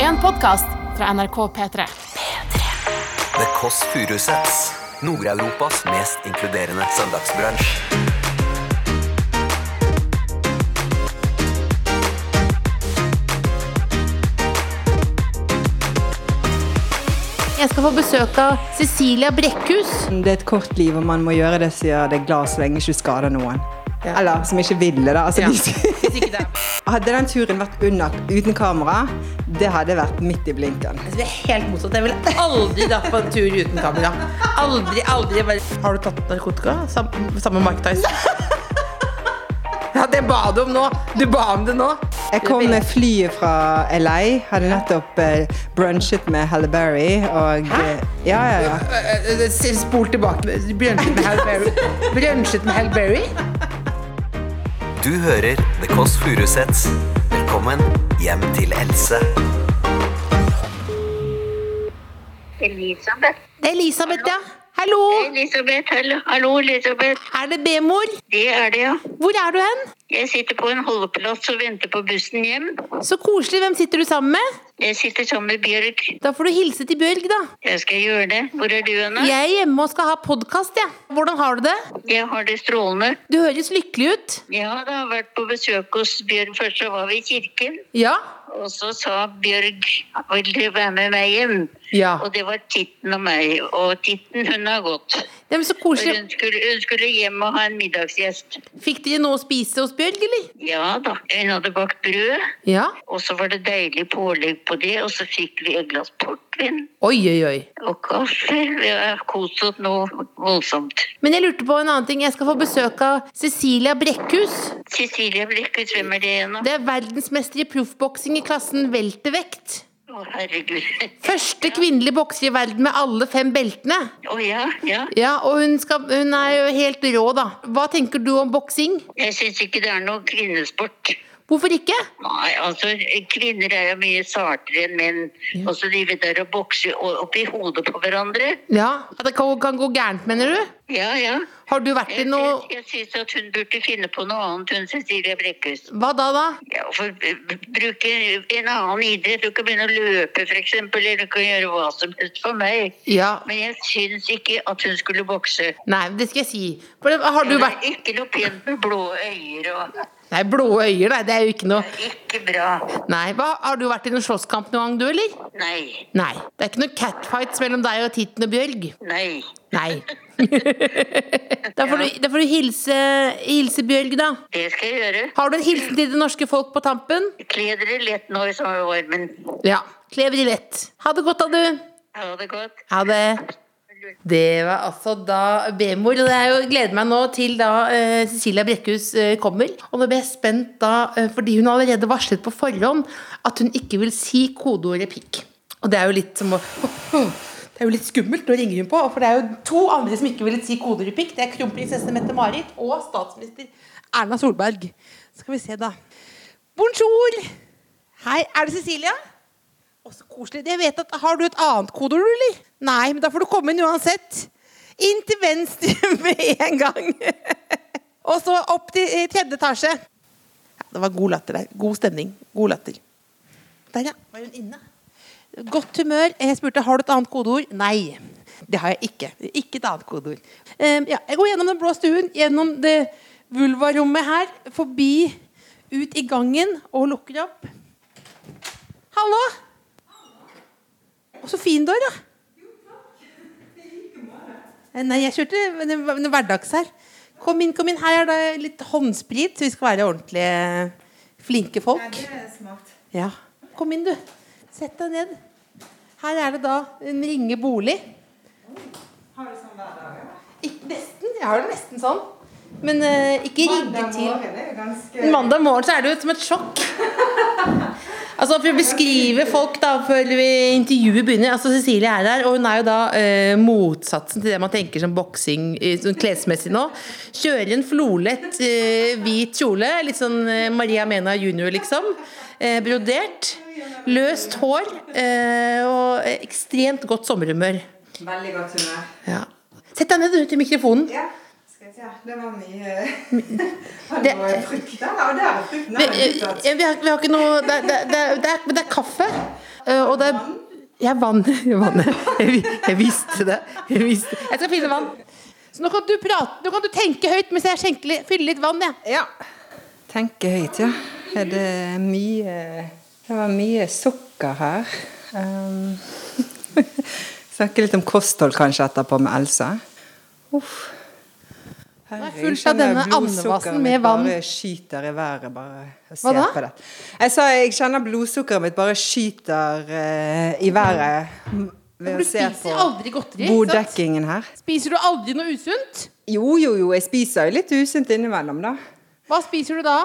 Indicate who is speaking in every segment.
Speaker 1: En podkast fra NRK P3.
Speaker 2: The Kåss Furuseths. Nord-Europas mest inkluderende søndagsbransj.
Speaker 1: Jeg skal få besøk av Cecilia Brekkhus.
Speaker 3: Det er et kort liv, og man må gjøre det som gjør deg glad, så lenge du ikke skader noen. Eller som ikke ville, da. Altså, de skal- hadde den turen vært unna, uten kamera, det hadde vært midt i blinken.
Speaker 4: Det er helt motsatt. Jeg ville aldri dratt på en tur uten kamera. Aldri, aldri. Bare. Har du tatt narkotika? Sam sammen med Mike Tyson? Ja, det ba du om nå! Du ba om det nå.
Speaker 3: Jeg kom med flyet fra LA, hadde nettopp eh, brunchet med Halle Berry, og eh, Ja, ja, ja.
Speaker 4: Eh, eh, Spol tilbake. Brunsjet med Hal Berry. Brunsjet med Hal Berry?
Speaker 2: Du hører The Kåss Furuseths. Velkommen hjem til Else.
Speaker 5: Elisabeth.
Speaker 1: Elisabeth, ja. Hallo!
Speaker 5: Elisabeth, hallo. Hallo, Elisabeth.
Speaker 1: Er det B-mor?
Speaker 5: Det er det, ja.
Speaker 1: Hvor er du hen?
Speaker 5: Jeg sitter på en holdeplass og venter på bussen hjem.
Speaker 1: Så koselig. Hvem sitter du sammen med?
Speaker 5: Jeg sitter sammen med Bjørg.
Speaker 1: Da får du hilse til Bjørg, da.
Speaker 5: Jeg skal gjøre det. Hvor er du henne?
Speaker 1: Jeg er hjemme og skal ha podkast, jeg. Ja. Hvordan har du det?
Speaker 5: Jeg har det strålende.
Speaker 1: Du høres lykkelig ut.
Speaker 5: Ja, da har jeg vært på besøk hos Bjørg. Først så var vi i kirken,
Speaker 1: Ja.
Speaker 5: og så sa Bjørg vil du være med meg hjem?
Speaker 4: Ja.
Speaker 5: Og det var Titten og meg. Og Titten, hun har gått.
Speaker 1: Det er så
Speaker 5: For
Speaker 1: koselig.
Speaker 5: Hun skulle, hun skulle hjem og ha en middagsgjest.
Speaker 1: Fikk dere noe å spise hos Bjørg, eller?
Speaker 5: Ja da. Hun hadde bakt brød.
Speaker 1: Ja.
Speaker 5: Og så var det deilig pålegg på det, og så fikk vi et glass portvin
Speaker 1: Oi, oi, oi.
Speaker 5: og kaffe. Vi har kost oss noe voldsomt.
Speaker 1: Men jeg lurte på en annen ting. Jeg skal få besøk av Cecilia Brekkhus.
Speaker 5: Cecilie Brekkhus, hvem er det igjen nå?
Speaker 1: Det er verdensmester i proffboksing i klassen weltervekt.
Speaker 5: Å, herregud.
Speaker 1: Første kvinnelige bokser i verden med alle fem beltene.
Speaker 5: Å ja, ja.
Speaker 1: Ja, og hun, skal, hun er jo helt rå, da. Hva tenker du om boksing?
Speaker 5: Jeg syns ikke det er noe kvinnesport.
Speaker 1: Hvorfor ikke?
Speaker 5: Nei, altså kvinner er jo mye sartere enn menn. Og så driver de der og bokser o- opp i hodet på hverandre.
Speaker 1: Ja, At det kan, kan gå gærent, mener du?
Speaker 5: Ja, ja.
Speaker 1: Har du vært i
Speaker 5: Jeg,
Speaker 1: noe
Speaker 5: jeg, jeg syns at hun burde finne på noe annet, hun Cecilie Brekkhus.
Speaker 1: Hva da, da?
Speaker 5: Ja, for eh, b- bruke en annen idrett. Du kan begynne å løpe, f.eks. Eller du kan gjøre hva som helst for meg.
Speaker 1: Ja.
Speaker 5: Men jeg syns ikke at hun skulle bokse.
Speaker 1: Nei, det skal jeg si. For det, har du
Speaker 5: Det
Speaker 1: vært
Speaker 5: er ikke noe pent med blå øyer og
Speaker 1: Nei, blå øyer, nei, det er jo ikke noe
Speaker 5: Ikke bra.
Speaker 1: Nei, hva, Har du vært i noen slåsskamp noen gang, du, eller?
Speaker 5: Nei.
Speaker 1: Nei. Det er ikke noen catfights mellom deg og Titten og Bjørg?
Speaker 5: Nei.
Speaker 1: Nei. da, får du, da får du hilse, hilse Bjørg, da.
Speaker 5: Det skal jeg gjøre.
Speaker 1: Har du en hilsen til det norske folk på tampen?
Speaker 5: Kle dere lett nå i sommervarmen.
Speaker 1: Ja. Klev de lett. Ha det godt, da, du.
Speaker 5: Ha det godt.
Speaker 1: Ha det. Det var altså da B-mor. Og det er jo, jeg gleder meg nå til da eh, Cecilia Brekkhus eh, kommer. Og nå ble jeg spent da, eh, fordi hun har allerede varslet på forhånd at hun ikke vil si kodeordet pikk. Og det er jo litt som å Det er jo litt skummelt. Nå ringer hun på. For det er jo to andre som ikke ville si kodeordet pikk. Det er kronprinsesse Mette-Marit og statsminister Erna Solberg. Skal vi se, da. Bonjour! Hei, er det Cecilia? Å, så koselig. Jeg vet at, Har du et annet kodeord, eller? Nei, men da får du komme inn uansett. Inn til venstre med en gang. Og så opp til eh, tredje etasje. Ja, det var god latter der. God stemning. God latter. Der, ja. Var hun inne? Godt humør. Jeg spurte har du et annet kodeord. Nei. Det har jeg ikke. Ikke et annet kodeord. Eh, ja, jeg går gjennom den blå stuen, gjennom det vulvarommet her, forbi, ut i gangen og lukker opp. Hallo! Og så fin du er, da. Eh, Nei, jeg kjørte men det var noe hverdags her. Kom inn, kom inn. Her er det litt håndsprit, så vi skal være ordentlig flinke folk. Ja. Kom inn, du. Sett deg ned. Her er det da en ringe bolig. Har du sånn hver dag? Nesten. Jeg har det nesten sånn. Men eh, ikke rigge til. Mandag morgen så er det jo som et sjokk. Altså For å beskrive folk da før vi intervjuet begynner Altså Cecilie er her, og hun er jo da eh, motsatsen til det man tenker som boksing eh, sånn klesmessig nå. Kjører en florlett, eh, hvit kjole. Litt sånn eh, Maria Mena junior, liksom. Eh, brodert. Løst hår. Eh, og eh, ekstremt godt sommerhumør.
Speaker 3: Veldig godt humør.
Speaker 1: Ja. Sett deg ned du, til mikrofonen.
Speaker 3: Ja, skal vi se. Det var mye
Speaker 1: Det-
Speaker 3: Det var
Speaker 1: eh,
Speaker 3: frukt der, og der var frukten.
Speaker 1: Vi, eh, vi, har, vi har ikke noe det, er- det, er- det, er, det er kaffe. eh, og det Jeg vann. Vannet. Jeg, vi- jeg visste det. Jeg, visste. jeg skal finne vann. Så nå kan du prate, nå kan du tenke høyt mens jeg skjenker litt- fyller litt vann, jeg.
Speaker 3: Ja. Tenke høyt, ja. Er det mye Det var mye sukker her. Um, Snakke litt om kosthold kanskje etterpå med Else. Uff. sånn
Speaker 1: er fullt av denne andvassen med vann.
Speaker 3: Bare skyter i været, bare. Jeg
Speaker 1: Hva
Speaker 3: ser
Speaker 1: da?
Speaker 3: på det. Jeg sa jeg kjenner blodsukkeret mitt bare skyter eh, i været. Ved
Speaker 1: Du spiser aldri godteri, ikke sant?
Speaker 3: borddekkingen her.
Speaker 1: Spiser du aldri noe usunt?
Speaker 3: Jo, jo, jo, jeg spiser jo litt usunt innimellom, da.
Speaker 1: Hva spiser du da?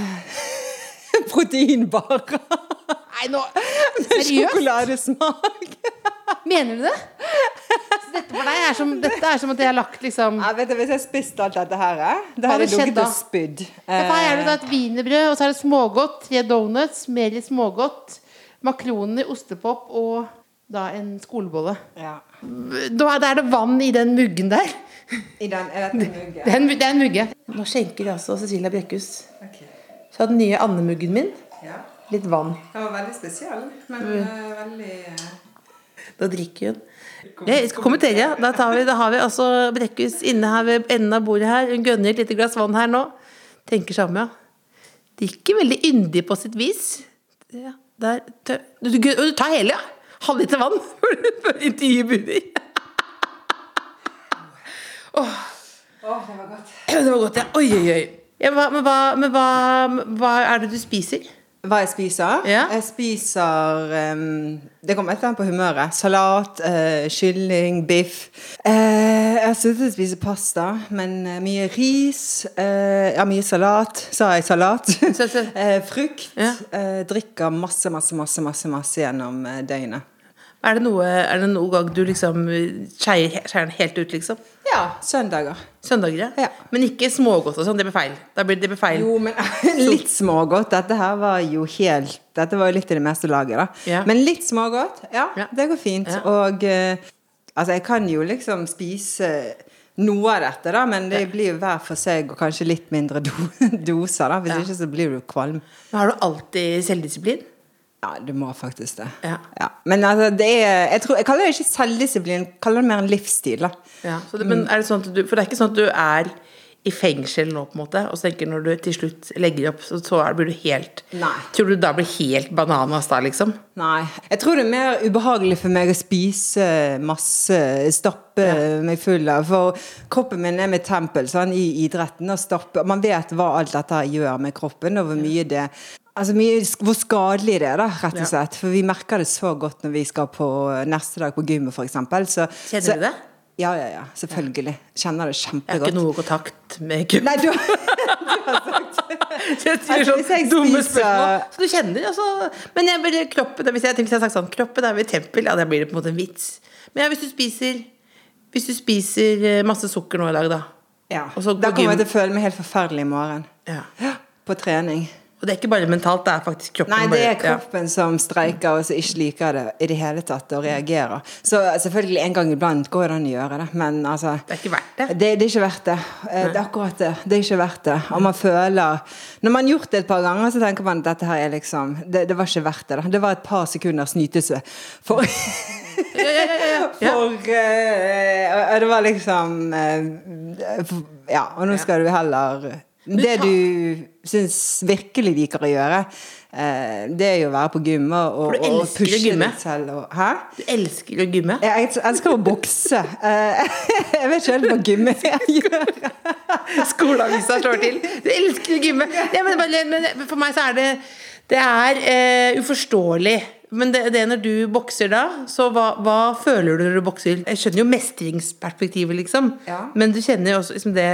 Speaker 3: Proteinbarer.
Speaker 1: Nei, nå
Speaker 3: Med
Speaker 1: Seriøst?
Speaker 3: Sjokoladesmak.
Speaker 1: Mener du det? Så dette for deg er som, dette er som at jeg har lagt liksom
Speaker 3: Ja, vet du, Hvis jeg spiste alt dette her, eh, da hadde
Speaker 1: hadde
Speaker 3: jeg
Speaker 1: skjedd
Speaker 3: ligget
Speaker 1: da?
Speaker 3: og spydd.
Speaker 1: Ja, for her er det
Speaker 3: Eh,
Speaker 1: da et wienerbrød, og så er det smågodt, tre donuts, mer i smågodt, makroner, ostepop og da en skolebolle.
Speaker 3: Eh, ja.
Speaker 1: Da er- da er det vann i den muggen der.
Speaker 3: I den, er dette muggen?
Speaker 1: Det er en, det er en mugge. Nå skjenker altså Cecilia Brekkhus fra den nye andemuggen min
Speaker 3: Ja.
Speaker 1: litt vann.
Speaker 3: Den var veldig spesiell, men
Speaker 1: Mm.
Speaker 3: eh, veldig eh,
Speaker 1: Da drikker hun. Jeg skal kommentere. Da, tar vi, da har vi altså Brekkhus inne her ved enden av bordet her. Hun gønner et lite glass vann her nå. Tenker samme, ja. Drikker veldig yndig på sitt vis. Ja, der. tø- Du, du, og du tar hele, ja? Halvliter vann før du- før intervjuet begynner. Åh, det var godt. ja. Oi, oi, oi. Ja, hva, men hva, men hva, hva er det du spiser?
Speaker 3: Hva jeg spiser?
Speaker 1: Ja.
Speaker 3: Jeg spiser ehm, Det kommer helt an på humøret. Salat, eh, kylling, biff. Eh, jeg har sluttet å spise pasta, men eh, mye ris. eh, ja, mye salat. Sa jeg salat?
Speaker 1: Så- så-
Speaker 3: Eh, frukt.
Speaker 1: Ja.
Speaker 3: eh, drikker masse, masse, masse, masse, masse gjennom eh, døgnet.
Speaker 1: Er det, noe, er det noen gang du liksom skeier skeier den helt ut, liksom?
Speaker 3: Ja. Søndager.
Speaker 1: Søndager, ja.
Speaker 3: Ja.
Speaker 1: Men ikke smågodt og sånn, det blir feil. Da blir det blir feil.
Speaker 3: Jo, men litt smågodt. Dette her var jo helt Dette var jo litt i det meste laget, da.
Speaker 1: Ja.
Speaker 3: Men litt smågodt, ja,
Speaker 1: Ja.
Speaker 3: det går fint.
Speaker 1: Ja.
Speaker 3: Og eh, altså, jeg kan jo liksom spise noe av dette, da, men det blir jo hver for seg og kanskje litt mindre do doser, da. Hvis ikke så blir du kvalm.
Speaker 1: Men har du alltid selvdisiplin?
Speaker 3: Ja, du må faktisk det.
Speaker 1: Ja.
Speaker 3: Men altså, det er Jeg, tror, jeg kaller det ikke selvdisiplin, jeg kaller det mer en livsstil, da.
Speaker 1: Så det, men
Speaker 3: Mm.
Speaker 1: er det sånn at du, for det er ikke sånn at du er i fengsel nå, på en måte, og så tenker når du til slutt legger opp, så, så er, blir du helt
Speaker 3: Nei.
Speaker 1: Tror du da blir helt bananas da, liksom?
Speaker 3: Nei. Jeg tror det er mer ubehagelig for meg å spise masse, stappe meg full av For kroppen min er mitt tempel sånn, i idretten. Og stappe, man vet hva alt dette gjør med kroppen, og hvor mye det Altså mye, hvor skadelig det er, da, rett
Speaker 1: Ja.
Speaker 3: og slett. For vi merker det så godt når vi skal på neste dag på gymmet, f.eks. Kjenner
Speaker 1: Kjenner du det?
Speaker 3: Ja, ja, ja. Selvfølgelig. Kjenner det
Speaker 1: Jeg har
Speaker 3: kjempegodt.
Speaker 1: ikke noe kontakt med kroppen.
Speaker 3: Nei, du
Speaker 1: Jeg sier
Speaker 3: Altså, hvis jeg
Speaker 1: sånn dumme
Speaker 3: spiser-
Speaker 1: spørsmål. Så du kjenner, altså. Men jeg blir, kroppen, hvis jeg, hvis jeg har sagt sånn, kroppen er mitt tempel, ja, da blir det på en måte en vits. Men ja, hvis du spiser, hvis du spiser eh, masse sukker nå i dag, da.
Speaker 3: ja.
Speaker 1: Og så
Speaker 3: Da
Speaker 1: på
Speaker 3: kommer
Speaker 1: gym.
Speaker 3: jeg til å føle meg helt forferdelig i morgen.
Speaker 1: Ja.
Speaker 3: På trening.
Speaker 1: Og det er ikke bare mentalt, det er faktisk kroppen.
Speaker 3: Nei, det er
Speaker 1: bare- ja.
Speaker 3: kroppen som streiker og som ikke liker det i det hele tatt, og reagerer. Så eh, selvfølgelig, en gang iblant går det an å gjøre det, men altså
Speaker 1: Det er ikke verdt det.
Speaker 3: Det, det er ikke verdt det. Eh, Det er akkurat det. Det er ikke verdt det. Og man føler Når man har gjort det et par ganger, så tenker man at dette her er liksom Det, det var ikke verdt det, da. Det var et par sekunders nytelse for For eh, og Det var liksom eh, Ja, og nå skal du heller Det
Speaker 1: ta-
Speaker 3: du syns virkelig liker å gjøre, eh, det er jo å være på gymmet og,
Speaker 1: For du
Speaker 3: og
Speaker 1: elsker å
Speaker 3: pushe
Speaker 1: gymme.
Speaker 3: deg selv. Og, hæ?
Speaker 1: Du elsker å gymme.
Speaker 3: Jeg jeg elsker å bokse. Eh, jeg vet ikke helt hva gymmet gjør.
Speaker 1: Skoleavisa slår til. Du elsker å gymme. Ja, men, bare, men for meg så er det Det er eh, uforståelig. Men det, det når du bokser da, så hva, hva føler du når du bokser? Jeg skjønner jo mestringsperspektivet, liksom.
Speaker 3: Ja.
Speaker 1: Men du kjenner jo også liksom det,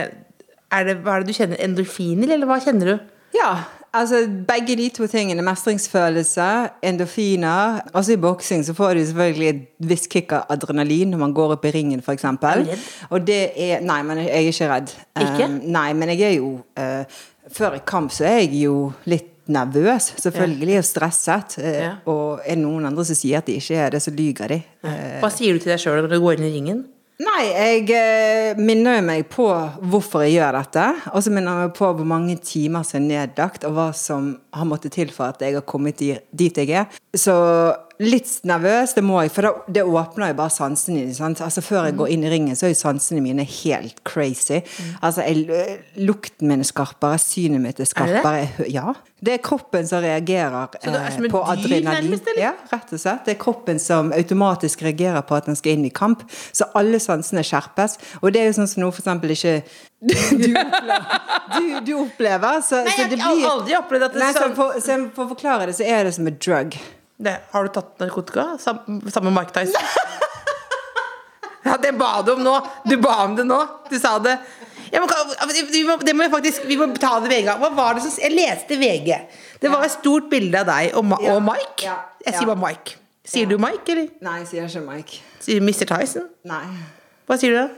Speaker 1: er det Hva er det du kjenner? Endorfiner, eller hva kjenner du?
Speaker 3: Ja, altså begge de to tingene. Mestringsfølelse, endorfiner. Også i boksing så får du selvfølgelig et visst kick av adrenalin når man går opp i ringen, f.eks. Og det er Nei, men jeg er ikke redd.
Speaker 1: Ikke?
Speaker 3: Um, nei, men jeg er jo eh, Før i kamp så er jeg jo litt nervøs, selvfølgelig, og stresset. eh,
Speaker 1: Ja.
Speaker 3: Og er det noen andre som sier at de ikke er det, så lyver de. Eh,
Speaker 1: Hva sier du til deg sjøl når du går inn i ringen?
Speaker 3: Nei, jeg eh, minner jo meg på hvorfor jeg gjør dette. Og så minner jeg meg på hvor mange timer som er nedlagt, og hva som har måttet til for at jeg har kommet di- dit jeg er. Så litt nervøs, det må jeg, for da, det åpner jo bare sansene dine. Sant? Altså, før jeg går inn i ringen, så er jo sansene mine helt crazy. Altså, jeg, lukten min er skarpere, synet mitt er skarpere. Jeg hø- Ja. Det er kroppen som reagerer
Speaker 1: det er
Speaker 3: eh,
Speaker 1: som et
Speaker 3: på
Speaker 1: dyr
Speaker 3: adrenalin.
Speaker 1: nærmest, eller?
Speaker 3: Ja, rett og slett. Det er kroppen som automatisk reagerer på at den skal inn i kamp. Så alle sansene skjerpes. Og det er jo sånn som nå for eksempel ikke du opplever. Du, du opplever så,
Speaker 1: Nei,
Speaker 3: så
Speaker 1: jeg
Speaker 3: det
Speaker 1: har
Speaker 3: blir
Speaker 1: aldri opplevd at det
Speaker 3: Nei, så
Speaker 1: sånn-
Speaker 3: for, så for å forklare det, så er det som et drug.
Speaker 1: Det, har du tatt narkotika? Sam, sammen med Mike Tyson? ja, det ba du om nå! Du ba om det nå! Du sa det. Ja, men, kan- altså, vi, må, det må jeg faktisk, vi må ta det med en gang. Hva var det som Jeg leste VG. Det var et stort bilde av deg og, Ma,
Speaker 3: Ja.
Speaker 1: og Mike.
Speaker 3: Ja.
Speaker 1: Jeg sier
Speaker 3: Ja.
Speaker 1: bare Mike. Sier du Mike, eller
Speaker 3: Nei, jeg sier ikke Mike.
Speaker 1: sier du Mr. Tyson?
Speaker 3: Nei.
Speaker 1: Hva sier du da?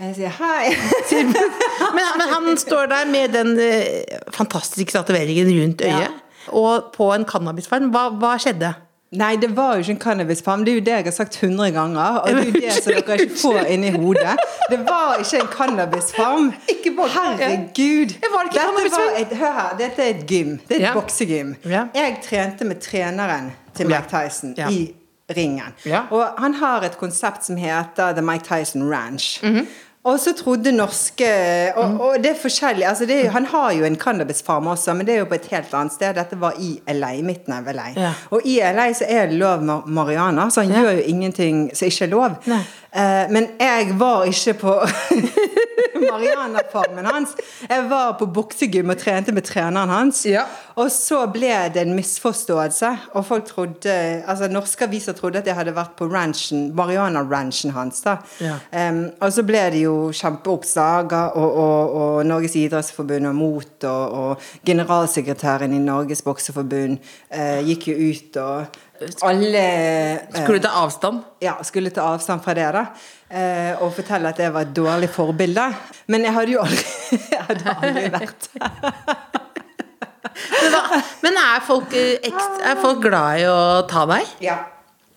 Speaker 3: Jeg sier hei.
Speaker 1: Men, men han står der med den eh, fantastiske tatoveringen rundt øyet. Og på en cannabisfarm. Hva, hva skjedde?
Speaker 3: Nei, det var jo ikke en cannabisfarm. Det er jo det jeg har sagt 100 ganger. Og det er jo det som dere ikke får inni hodet. Det var ikke en cannabisfarm.
Speaker 1: Ikke bare-
Speaker 3: Herregud.
Speaker 1: Ja, var det ikke
Speaker 3: dette,
Speaker 1: cannabisfarm?
Speaker 3: var et, hør her, dette er et gym. Det er et
Speaker 1: Ja.
Speaker 3: boksegym.
Speaker 1: Ja.
Speaker 3: Jeg trente med treneren til
Speaker 1: Ja.
Speaker 3: Mike Tyson
Speaker 1: Ja.
Speaker 3: i ringen.
Speaker 1: Ja.
Speaker 3: Og han har et konsept som heter The Mike Tyson Ranch.
Speaker 1: Mhm.
Speaker 3: Og så trodde norske Og, og det er forskjellig. Altså det, er- han har jo en cannabisfarm også, men det er jo på et helt annet sted. Dette var i LA, midten av LA.
Speaker 1: Ja.
Speaker 3: Og i LA så er det lov med marihuana, så han gjør jo ingenting som ikke er lov.
Speaker 1: Nei.
Speaker 3: Eh, men jeg var ikke på Mariana-farmen hans. Jeg var på boksegym og trente med treneren hans.
Speaker 1: Ja.
Speaker 3: Og så ble det en misforståelse, og folk trodde Altså norske aviser trodde at jeg hadde vært på ranchen, Mariana-ranchen hans, da.
Speaker 1: Ja.
Speaker 3: Em, og så ble det jo kjempeoppsager, og, og, og Norges idrettsforbund og MOT, og, og generalsekretæren i Norges bokseforbund eh, gikk jo ut, og alle eh,
Speaker 1: Skulle du ta avstand?
Speaker 3: ja, skulle ta avstand fra det da eh, og fortelle at jeg var et dårlig forbilde. Men jeg hadde jo aldri, jeg hadde aldri vært
Speaker 1: Men, hva, men er, folk, eh, ekstra, er folk glad i å ta deg?
Speaker 3: ja.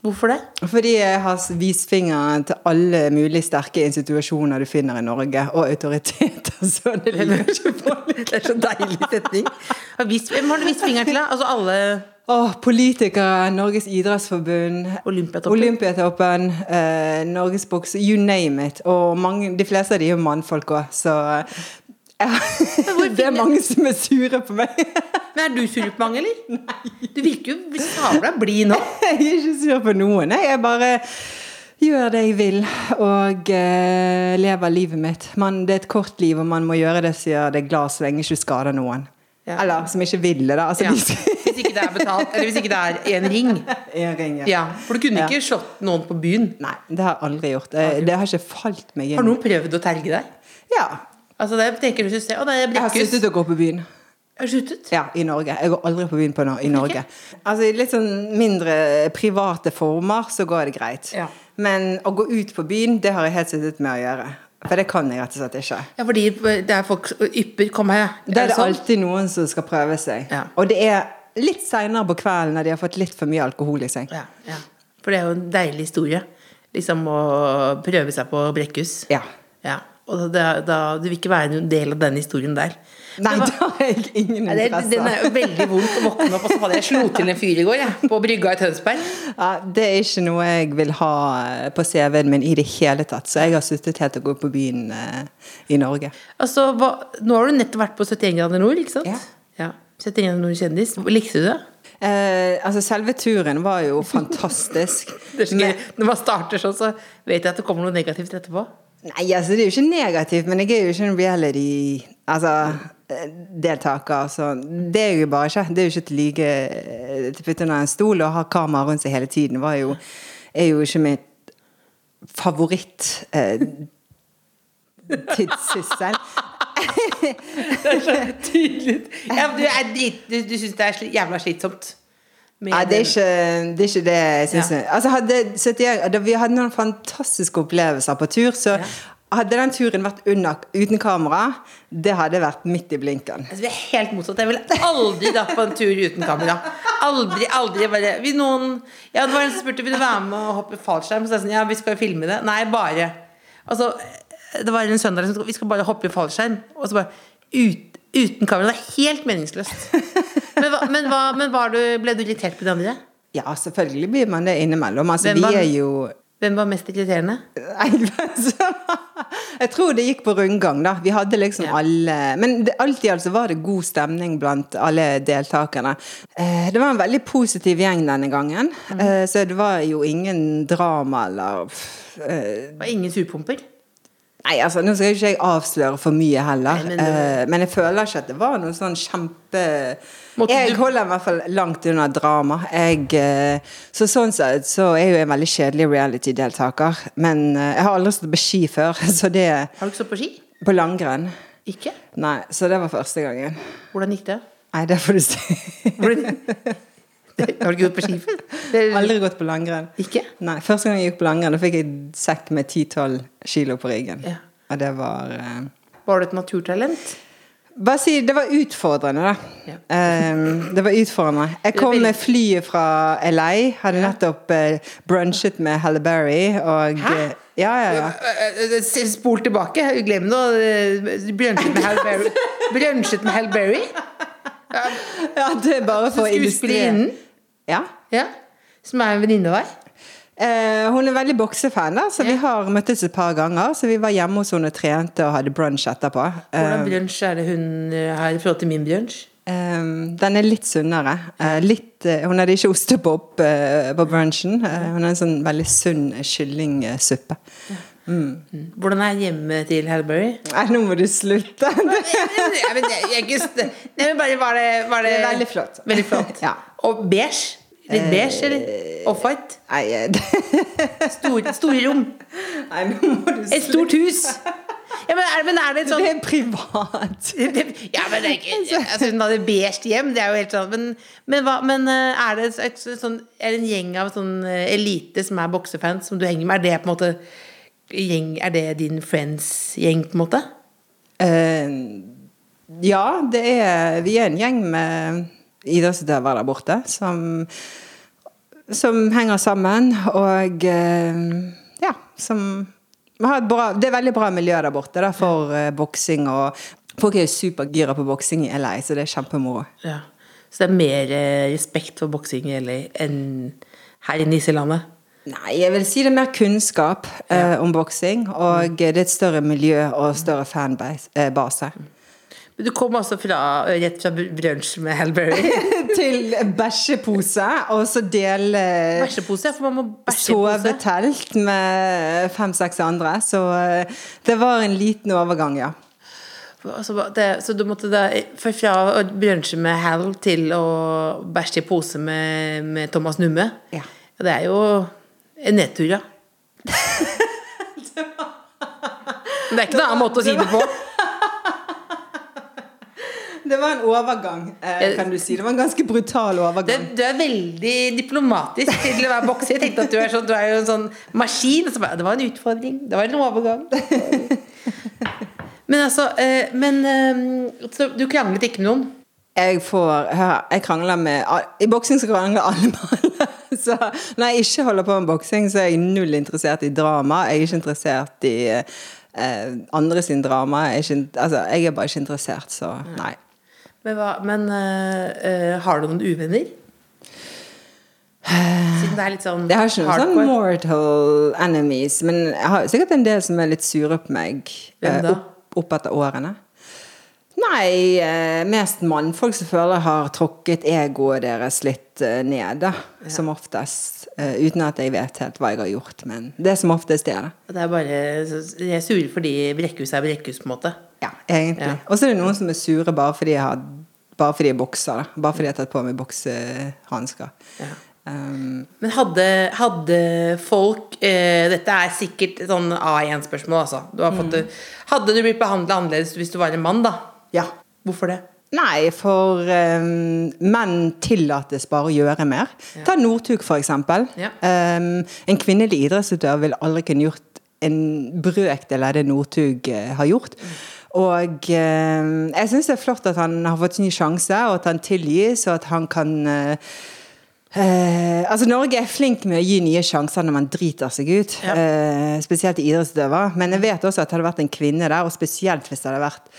Speaker 1: Hvorfor det?
Speaker 3: Fordi jeg har vist fingeren til alle mulig sterke institusjoner du finner i Norge, og autoriteter. Så det ligger ikke på
Speaker 1: Det er så deilig setning. Har vist- Hvem har du vist fingeren til? da? Altså alle
Speaker 3: Åh, Politikere, Norges idrettsforbund,
Speaker 1: Olympiatoppen.
Speaker 3: Olympiatoppen, eh, Norges boks, you name it. Og mange, de fleste av de er jo mannfolk òg, så eh, Det er mange som er sure på meg.
Speaker 1: Men Er du sur på mange, eller? Nei. Du virker jo sabla blid nå.
Speaker 3: Jeg er ikke sur på noen. jeg. Jeg bare gjør det jeg vil, og eh, lever livet mitt. Man, det er et kort liv, og man må gjøre det som gjør deg glad, så lenge du ikke skader noen.
Speaker 1: Ja.
Speaker 3: Eller som ikke ville det. Altså,
Speaker 1: Ja.
Speaker 3: de skal...
Speaker 1: Hvis ikke det er betalt, eller hvis ikke det er en ring.
Speaker 3: Jeg ringer.
Speaker 1: Ja, For du kunne
Speaker 3: Ja.
Speaker 1: ikke slått noen på byen.
Speaker 3: Nei, det har jeg aldri gjort. Eh, Det har ikke falt meg
Speaker 1: Har
Speaker 3: inn.
Speaker 1: noen prøvd å terge deg?
Speaker 3: Ja.
Speaker 1: Altså det tenker du hvis du ser, Å, det er
Speaker 3: Jeg har
Speaker 1: Brekkhus.
Speaker 3: sluttet å gå på byen.
Speaker 1: Har du sluttet?
Speaker 3: Ja, i Norge. Jeg går aldri på byen på no i Norge. Altså i litt sånn mindre private former, så går det greit.
Speaker 1: Ja.
Speaker 3: Men å gå ut på byen, det har jeg helt sluttet med å gjøre. For det kan jeg rett og slett ikke.
Speaker 1: Ja, fordi det er folk som ypper 'kom her'.
Speaker 3: Da er det
Speaker 1: sånn?
Speaker 3: alltid noen som skal prøve seg.
Speaker 1: Ja.
Speaker 3: Og det er litt seinere på kvelden når de har fått litt for mye alkohol i seg.
Speaker 1: Ja, ja. For det er jo en deilig historie. Liksom å prøve seg på Brekkhus.
Speaker 3: Ja.
Speaker 1: Ja, og da, da, du vil ikke være en del av den historien der.
Speaker 3: Nei,
Speaker 1: Det var-
Speaker 3: da har jeg ingen
Speaker 1: Nei, det, den
Speaker 3: interesse.
Speaker 1: er jo veldig vondt å våkne opp, og så hadde jeg slo til en fyr i går, jeg, på brygga i Tønsberg.
Speaker 3: Ja, det er ikke noe jeg vil ha eh, på CV-en min i det hele tatt. Så jeg har sluttet helt å gå på byen eh, i Norge.
Speaker 1: Altså, hva, nå har du nettopp vært på 71 grader nord, ikke sant?
Speaker 3: Ja.
Speaker 1: 71 grader nord kjendis. Likte du det?
Speaker 3: Eh, altså, selve turen var jo fantastisk.
Speaker 1: det er så
Speaker 3: Men-
Speaker 1: gøy. Når man starter sånn, så vet jeg at det kommer noe negativt etterpå.
Speaker 3: Nei, altså det er jo ikke negativt, men jeg er jo ikke en reality Altså eh, deltaker, så det er jo bare ikke. Det er jo ikke til like eh, til å putte under en stol og ha kamera rundt seg hele tiden. Var jo, er jo ikke mitt favoritt eh, tidssyssel.
Speaker 1: Det er så tydelig. Ja, men du er drit, du, du syns det er sli- jævla slitsomt? med
Speaker 3: Nei, det er ikke det, er ikke det jeg syns.
Speaker 1: Ja.
Speaker 3: Altså, hadde, så at jeg- da vi hadde noen fantastiske opplevelser på tur, så hadde den turen vært unna, uten kamera, det hadde vært midt i blinken.
Speaker 1: Altså, vi er helt motsatt. Jeg ville aldri dratt på en tur uten kamera. Aldri, aldri. Bare, vil noen, ja, det var en som spurte vil du være med og hoppe fallskjerm. Så jeg sånn, ja, vi skal jo filme det. Nei, bare. Altså, det var en søndag som vi skal bare hoppe i fallskjerm, og så bare ut, uten kamera. Det er helt meningsløst. Men, hva, men, hva, men var du, ble du irritert på de andre?
Speaker 3: Ja, selvfølgelig blir man det innimellom. Altså,
Speaker 1: Hvem
Speaker 3: vi
Speaker 1: var-
Speaker 3: er jo
Speaker 1: Hvem var mest irriterende?
Speaker 3: Nei, men så- Jeg tror det gikk på rundgang, da. Vi hadde liksom
Speaker 1: Ja.
Speaker 3: alle Men det, alt i alt så var det god stemning blant alle deltakerne. Eh, Det var en veldig positiv gjeng denne gangen,
Speaker 1: Mm.
Speaker 3: eh, så det var jo ingen drama eller pff, eh,
Speaker 1: Det var ingen surpumper?
Speaker 3: Nei, altså, nå skal jo ikke jeg avsløre for mye heller,
Speaker 1: Nei,
Speaker 3: men,
Speaker 1: men det-
Speaker 3: men jeg føler ikke at det var noe sånn kjempe
Speaker 1: Måtte
Speaker 3: Jeg
Speaker 1: du-
Speaker 3: holder i hvert fall langt unna drama. Jeg, eh, så sånn sett så er jeg jo en veldig kjedelig reality-deltaker, men eh, jeg har aldri stått på ski før, så det
Speaker 1: Har du ikke stått på ski?
Speaker 3: På langrenn.
Speaker 1: Ikke?
Speaker 3: Nei, så det var første gangen.
Speaker 1: Hvordan gikk det?
Speaker 3: Nei, det får du si.
Speaker 1: Hvordan... Har du ikke gått på ski før? Det-
Speaker 3: Aldri gått på langrenn.
Speaker 1: Ikke?
Speaker 3: Nei, Første gang jeg gikk på langrenn, da fikk jeg sekk med 10-12 kilo på ryggen.
Speaker 1: Ja.
Speaker 3: Og det var eh,
Speaker 1: Var du et naturtalent?
Speaker 3: Bare si det var utfordrende, da.
Speaker 1: Ja.
Speaker 3: Ehm, det var utfordrende. Jeg kom med flyet fra LA. Hadde nettopp eh, brunchet med Halle Berry og eh, Ja, ja, ja.
Speaker 1: Eh, eh, Spol tilbake, glem nå Brønsjet med Hal Berry. Brønsjet med Hal Berry?
Speaker 3: ja det er bare for å illustrere.
Speaker 1: Skuespillerinnen,
Speaker 3: Ja.
Speaker 1: ja, som er en venninne av deg.
Speaker 3: Eh, hun er veldig boksefan, da, så vi har møttes et par ganger. Så vi var hjemme hos henne og trente og hadde brunch etterpå.
Speaker 1: Hvordan brunsj er det hun eh, har i forhold til min brunsj?
Speaker 3: Ehm, den er litt sunnere. Eh, litt, eh, hun hadde ikke ostepop eh, på brunchen. Eh, hun har en sånn veldig sunn kyllingsuppe.
Speaker 1: Hvordan er hjemmet til Hal Berry?
Speaker 3: Nei, nå må du slutte!
Speaker 1: Nei, men jeg- jeg er ikke st- Nei, men bare var det, var det
Speaker 3: Det er veldig flott.
Speaker 1: Veldig flott.
Speaker 3: Ja.
Speaker 1: Og beige? Litt beige, eller? Offwhite?
Speaker 3: Nei, eh, det-
Speaker 1: Store, store rom?
Speaker 3: Nei, nå må du
Speaker 1: Et stort hus? Ja, men er, men er det et sånt
Speaker 3: Det er privat.
Speaker 1: Ja, men det er ikke altså, Hun hadde beige hjem, det er jo helt sånn Men, men, hva, men eh, er det et sånn, er det en gjeng av sånn eh, elite som er boksefans, som du henger med? Er det på en måte gjeng, Er det din friends-gjeng, på en måte?
Speaker 3: Eh, ja, det er Vi er en gjeng med idrettsutøvere der borte som, som henger sammen og eh, Ja, som har et bra, Det er veldig bra miljø der borte da, for eh, boksing og Folk er jo supergira på boksing i LA, så det er kjempemoro.
Speaker 1: Ja. Så det er mer eh, respekt for boksing i LA enn her inne i Islandet?
Speaker 3: Nei, jeg vil si det er mer kunnskap eh, om boksing. Og eh, det er et større miljø og større fanbase. Eh, base.
Speaker 1: Men du kom altså fra, rett fra brunsj med Halberry.
Speaker 3: Til bæsjepose, og så dele
Speaker 1: Bæsjepose, for man må bæsje i pose.
Speaker 3: sovetelt med fem-seks andre. Så eh, det var en liten overgang, ja.
Speaker 1: Altså, hva- det, så du måtte da for fra å brunsje med Hal til å bæsje i pose med, med Thomas Numme?
Speaker 3: Ja.
Speaker 1: Det er jo en nedtur, ja. Men det er ikke noen annen måte å si det på.
Speaker 3: Det var en overgang, eh, kan du si. Det var en ganske brutal
Speaker 1: Du,
Speaker 3: overgang.
Speaker 1: du er veldig diplomatisk til å være bokser. Jeg tenkte at du er, sånn, du er jo en sånn maskin. Så bare, det var en utfordring. Det var en overgang. Men altså eh, Men eh, så du kranglet ikke med noen?
Speaker 3: Jeg får hør, jeg krangler med I boksing så krangler alle med alle. Så når jeg ikke holder på med boksing, så er jeg null interessert i drama. Jeg er ikke interessert i eh, andre sin drama. Jeg er, ikke, in- altså, jeg er bare ikke interessert, så nei.
Speaker 1: Men, hva, men eh, eh, har du noen uvenner? Siden det er litt sånn
Speaker 3: Jeg har ikke noen sånn mortal enemies, men jeg har sikkert en del som er litt sure på meg eh,
Speaker 1: Hvem da?
Speaker 3: opp, opp etter årene. Nei, eh, mest mannfolk som føler jeg har tråkket egoet deres litt eh, ned, da. Som oftest. eh, uten at jeg vet helt hva jeg har gjort, men det er som oftest det, da.
Speaker 1: Det er bare Jeg er sur fordi Brekkhus er Brekkhus, på en måte.
Speaker 3: Ja, egentlig. Og så er det noen som er sure bare fordi jeg har bare fordi jeg bokser, da. Bare fordi jeg har tatt på meg boksehansker. Um,
Speaker 1: Men hadde, hadde folk eh, Dette er sikkert sånn A1-spørsmål, altså. Du har
Speaker 3: Mm.
Speaker 1: fått, det- Hadde du blitt behandla annerledes hvis du var en mann, da?
Speaker 3: ja.
Speaker 1: Hvorfor det?
Speaker 3: Nei, for ehm, menn tillates bare å gjøre mer. Ta Northug, for eksempel.
Speaker 1: Ja.
Speaker 3: Ehm, en kvinnelig idrettsutøver vil aldri kunne gjort en brøkdel av det Northug eh, har gjort. Og ehm, jeg syns det er flott at han har fått ny sjanse, og at han tilgis, og at han kan eh, eh, Eh, altså Norge er flink med å gi nye sjanser når man driter seg ut. Eh, spesielt til idrettsutøvere. Men jeg vet også at hadde det vært en kvinne der, og spesielt hvis det hadde vært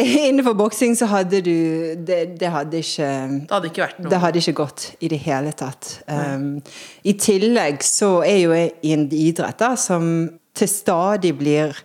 Speaker 3: Innenfor boksing så hadde du Det, det hadde ikke
Speaker 1: Det hadde ikke vært noe.
Speaker 3: det hadde ikke gått i det hele tatt. Um, I tillegg så er jo jeg i en idrett da, som til stadig blir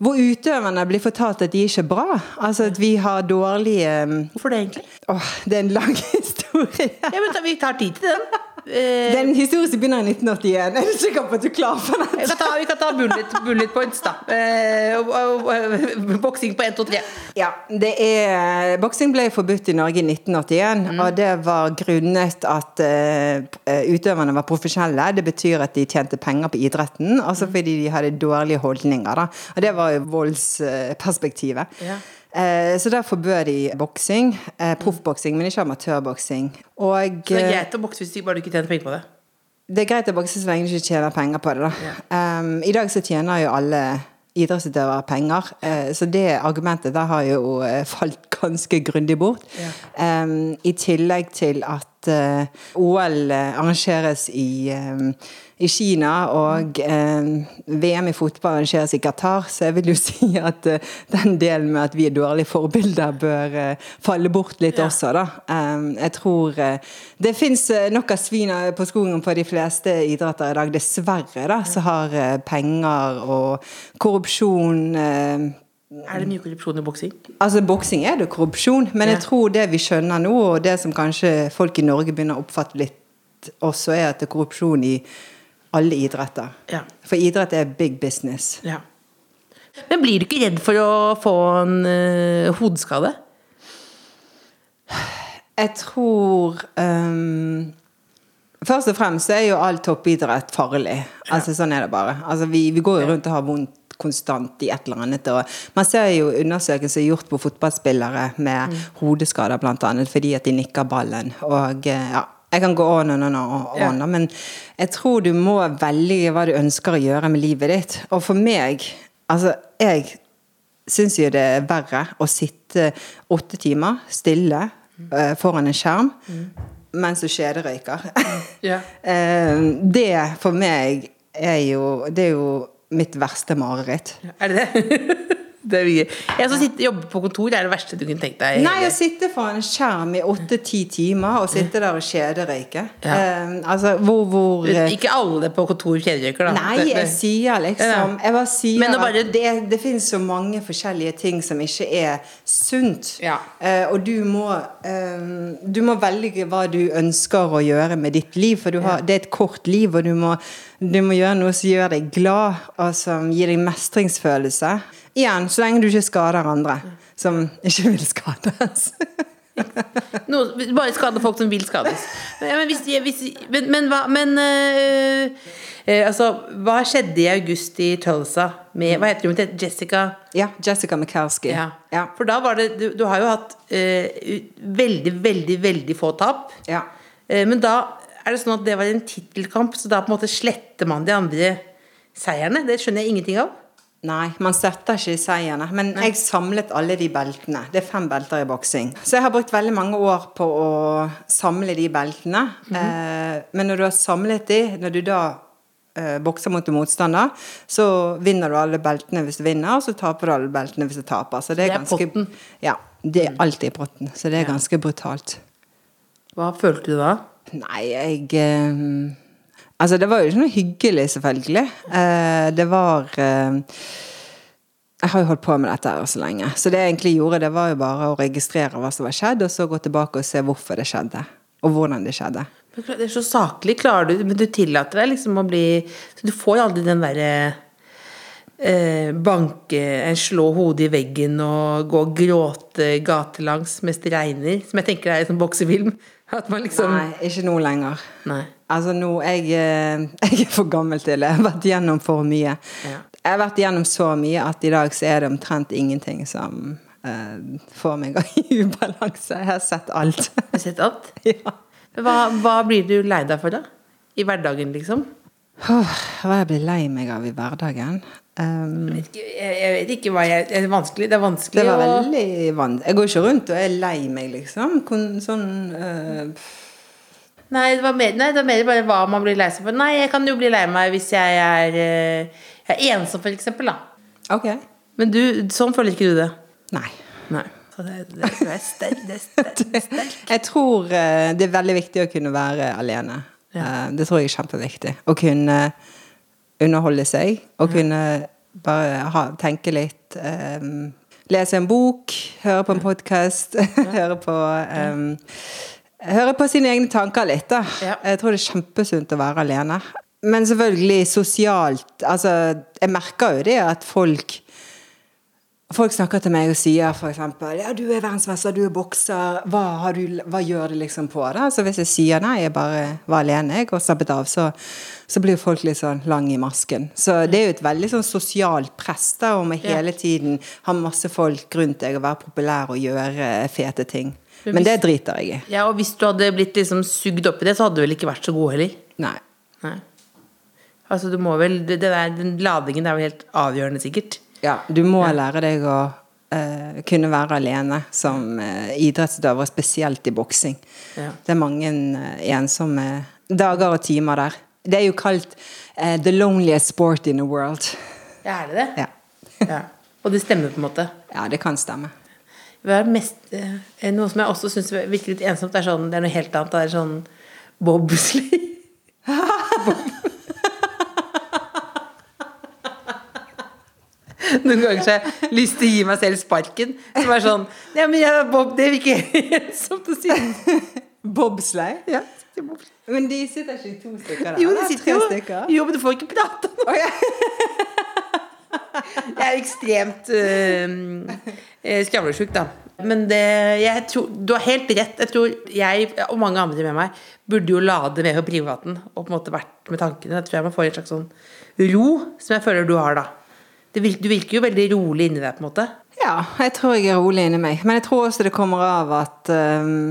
Speaker 3: Hvor utøverne blir fortalt at de ikke er bra. Altså at vi har dårlige um,
Speaker 1: Hvorfor det, egentlig?
Speaker 3: Åh, det er en lang historie.
Speaker 1: Ja, men da, Vi tar tid til den. Eh,
Speaker 3: Den historien som begynner i 1981. Er du sikker på at du er klar for
Speaker 1: vi
Speaker 3: dette?
Speaker 1: kan ta, vi kan ta bullet, bullet points, da. Eh, og- og- og- Boksing på 1, 2, 3.
Speaker 3: Ja, det er eh, Boksing ble forbudt i Norge i 1981, og det var grunnet at eh, utøverne var profesjonelle. Det betyr at de tjente penger på idretten, også fordi de hadde dårlige holdninger. Da. Og det var jo voldsperspektivet.
Speaker 1: Ja.
Speaker 3: Eh, så der forbød de boksing. Eh, Proffboksing, men ikke amatørboksing. Og
Speaker 1: Så det er
Speaker 3: eh,
Speaker 1: greit å bokse hvis du bare du ikke tjener penger på det.
Speaker 3: det er greit å bokse så lenge du ikke tjener penger på det. Da. Um, I dag så tjener jo alle idrettsutøvere penger, eh, så det argumentet der har jo eh, falt ganske grundig bort. Um, I tillegg til at eh, OL arrangeres i, um, i Kina, og um, VM i fotball arrangeres i Qatar, så jeg vil jo si at eh, den delen med at vi er dårlige forbilder, bør eh, falle bort litt også, da. Um, jeg tror eh, Det fins nok av svin eh, på skogen på de fleste idretter i dag, dessverre, da, så har eh, penger og korrupsjon eh,
Speaker 1: Er det mye korrupsjon i boksing?
Speaker 3: Altså, boksing er det korrupsjon, men jeg
Speaker 1: Ja.
Speaker 3: tror det vi skjønner nå, og det som kanskje folk i Norge begynner å oppfatte litt også, er at det er korrupsjon i alle idretter.
Speaker 1: Ja.
Speaker 3: For idrett er big business.
Speaker 1: Ja. Men blir du ikke redd for å få en eh, hodeskade?
Speaker 3: Jeg tror ehm, Først og fremst så er jo all toppidrett farlig. Altså Sånn er det bare. Altså, vi, vi går jo rundt og har vondt konstant i et eller annet. Og man ser jo undersøkelser gjort på fotballspillere med hodeskader, blant annet, fordi at de nikker ballen. Og eh, ja, jeg kan gå on and on og on,
Speaker 1: Ja.
Speaker 3: men jeg tror du må velge hva du ønsker å gjøre med livet ditt. Og for meg Altså, jeg syns jo det er verre å sitte åtte timer stille eh, foran en skjerm mens du kjederøyker.
Speaker 1: Mm. Ja.
Speaker 3: Eh, det for meg er jo Det er jo mitt verste mareritt.
Speaker 1: Er det det? det er mye. Jeg som sitter, jobber på kontor, er det verste du kunne tenkt deg.
Speaker 3: Nei, å sitte foran en skjerm i åtte-ti timer og sitte der og kjederøyke.
Speaker 1: Ja.
Speaker 3: Eh, altså, hvor, hvor eh,
Speaker 1: Ikke alle på kontor kjederøyker, da.
Speaker 3: Nei,
Speaker 1: Det- det-
Speaker 3: jeg sier liksom
Speaker 1: Ja.
Speaker 3: Jeg bare sier
Speaker 1: Men å bare-
Speaker 3: at det, det finnes så mange forskjellige ting som ikke er sunt.
Speaker 1: Ja.
Speaker 3: Eh, og du må, eh, du må velge hva du ønsker å gjøre med ditt liv, for du har, det er et kort liv, og du må, du må gjøre noe som gjør deg glad, og som gir deg mestringsfølelse. Igjen, så lenge du ikke skader andre som ikke vil skades.
Speaker 1: Noe, bare skade folk som vil skades. Men, men, hvis, de- hvis, men, men, hva, men øh, øh, altså, hva skjedde i august i Tulsa med Hva heter hun? Het Jessica?
Speaker 3: ja, Jessica Mikalski.
Speaker 1: Ja.
Speaker 3: Ja.
Speaker 1: For da var det Du, du har jo hatt øh, veldig, veldig, veldig få tap.
Speaker 3: Ja.
Speaker 1: Eh, men da er det sånn at det var en tittelkamp, så da på en måte sletter man de andre seierne. Det skjønner jeg ingenting av.
Speaker 3: Nei, man setter ikke i seierne. Men jeg samlet alle de beltene. Det er fem belter i boksing. Så jeg har brukt veldig mange år på å samle de beltene. eh, men når du har samlet de, når du da eh, bokser mot en motstander, så vinner du alle beltene hvis du vinner, og så taper du alle beltene hvis du taper. Så det er, Mm.
Speaker 1: Det
Speaker 3: ganske
Speaker 1: er potten.
Speaker 3: Ja. Det er alltid i potten. Så det er ganske brutalt.
Speaker 1: Hva følte du da?
Speaker 3: Nei, jeg eh, Altså, det var jo ikke noe hyggelig, selvfølgelig. Eh, det var eh, jeg har jo holdt på med dette her så lenge. Så det jeg egentlig gjorde, det var jo bare å registrere hva som var skjedd, og så gå tilbake og se hvorfor det skjedde. Og hvordan det skjedde.
Speaker 1: Det er så saklig, klarer du Men du tillater deg liksom å bli Så du får aldri den derre eh, banke eh, Slå hodet i veggen og gå og gråte gatelangs mens det regner. Som jeg tenker er en sånn boksefilm. At man liksom
Speaker 3: Nei, ikke nå lenger.
Speaker 1: Nei.
Speaker 3: Altså nå, jeg, eh, jeg er for gammel til det. Jeg har vært gjennom for mye.
Speaker 1: Ja.
Speaker 3: Jeg har vært gjennom så mye at i dag så er det omtrent ingenting som eh, får meg i ubalanse. Jeg har sett alt.
Speaker 1: Har du sett alt?
Speaker 3: ja.
Speaker 1: Hva, hva blir du lei deg for, da? I hverdagen, liksom?
Speaker 3: Åh, hva jeg blir lei meg av i hverdagen. Um,
Speaker 1: Jeg, jeg vet ikke hva jeg Det er vanskelig. Det er
Speaker 3: det
Speaker 1: vanskelig
Speaker 3: var
Speaker 1: å-
Speaker 3: veldig vanskelig. Jeg går ikke rundt og er lei meg, liksom. Kon sånn eh,
Speaker 1: Nei, det var mer, nei, det var mer bare hva man blir lei seg for. Nei, jeg kan jo bli lei meg hvis jeg er, eh, jeg er ensom, for eksempel, da.
Speaker 3: Ok.
Speaker 1: Men du, sånn føler ikke du det?
Speaker 3: Nei.
Speaker 1: Nei. Så det, det, det er sterk, det er sterk, sterk.
Speaker 3: Jeg tror eh, det er veldig viktig å kunne være alene. Eh, Det tror jeg er kjempeviktig. Å kunne underholde seg. Å kunne bare ha, tenke litt. eh, lese en bok, høre på en podkast, høre på eh, Høre på sine egne tanker litt, da.
Speaker 1: Ja.
Speaker 3: Jeg tror det er kjempesunt å være alene. Men selvfølgelig sosialt Altså, jeg merker jo det at folk Folk snakker til meg og sier f.eks.: Ja, du er verdensmester, du er bokser. Hva, har du, hva gjør det liksom på det? Så hvis jeg sier nei, jeg bare var alene jeg, og slappet av, så, så blir jo folk litt sånn lang i masken. Så det er jo et veldig sånn sosialt press da, om å hele tiden ha masse folk rundt deg og være populær og gjøre fete ting. Men det driter jeg i.
Speaker 1: Ja, og hvis du hadde blitt liksom sugd opp i det, så hadde du vel ikke vært så god heller?
Speaker 3: Nei.
Speaker 1: Nei. Altså, du må vel det, det der, Den ladingen er vel helt avgjørende, sikkert.
Speaker 3: Ja, du må lære deg å eh, kunne være alene som eh, idrettsutøver, spesielt i boksing.
Speaker 1: Ja.
Speaker 3: Det er mange eh, ensomme dager og timer der. Det er jo kalt eh, 'the loneliest sport in the world'.
Speaker 1: Ja, er det det?
Speaker 3: Ja.
Speaker 1: Ja. Og det stemmer, på en måte.
Speaker 3: ja, det kan stemme.
Speaker 1: Hva er mest, eh, noe som jeg også syns virker litt ensomt, er sånn, det er noe helt annet. Det er sånn bobsleigh. Bob. Noen ganger så har jeg lyst til å gi meg selv sparken. Som er sånn Ja, men jeg, Bob, det virker ensomt å si.
Speaker 3: Bobsleigh?
Speaker 1: Ja.
Speaker 3: Men de sitter ikke i to stykker der?
Speaker 1: Jo, det
Speaker 3: eller?
Speaker 1: sitter
Speaker 3: Tre
Speaker 1: jo
Speaker 3: stykker?
Speaker 1: Jo, men du får ikke prate om det. Jeg er jo ekstremt øh, skravlesjuk, da. Men det, jeg tror, du har helt rett. Jeg tror jeg og mange andre med meg burde jo lade mer på privaten og på en måte vært med tankene. Da tror jeg man får en slags sånn ro som jeg føler du har, da. Det virker, du virker jo veldig rolig inni deg, på en måte.
Speaker 3: Ja, jeg tror jeg er rolig inni meg. Men jeg tror også det kommer av at ehm,